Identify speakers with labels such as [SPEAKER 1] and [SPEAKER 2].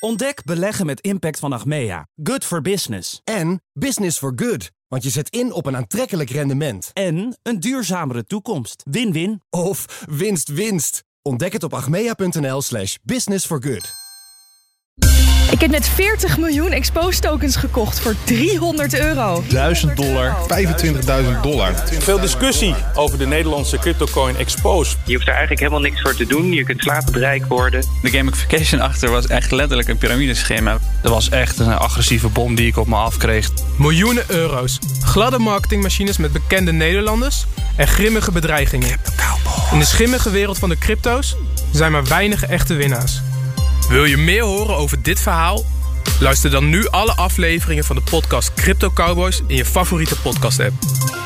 [SPEAKER 1] Ontdek beleggen met impact van Achmea. Good for business.
[SPEAKER 2] En Business for Good, want je zet in op een aantrekkelijk rendement.
[SPEAKER 1] En een duurzamere toekomst. Win-win.
[SPEAKER 2] Of winst-winst. Ontdek het op achmea.nl slash business for good.
[SPEAKER 3] Ik heb net 40 miljoen Expose tokens gekocht voor 300 euro.
[SPEAKER 4] 1000 dollar, 25.000 dollar.
[SPEAKER 5] Veel discussie over de Nederlandse cryptocoin Expose.
[SPEAKER 6] Je hoeft daar eigenlijk helemaal niks voor te doen. Je kunt slapend rijk worden.
[SPEAKER 7] De gamification achter was echt letterlijk een piramideschema.
[SPEAKER 8] Dat was echt een agressieve bom die ik op me afkreeg.
[SPEAKER 9] Miljoenen euro's, gladde marketingmachines met bekende Nederlanders en grimmige bedreigingen. In de schimmige wereld van de crypto's zijn maar weinig echte winnaars. Wil je meer horen over dit verhaal? Luister dan nu alle afleveringen van de podcast Crypto Cowboys in je favoriete podcast-app.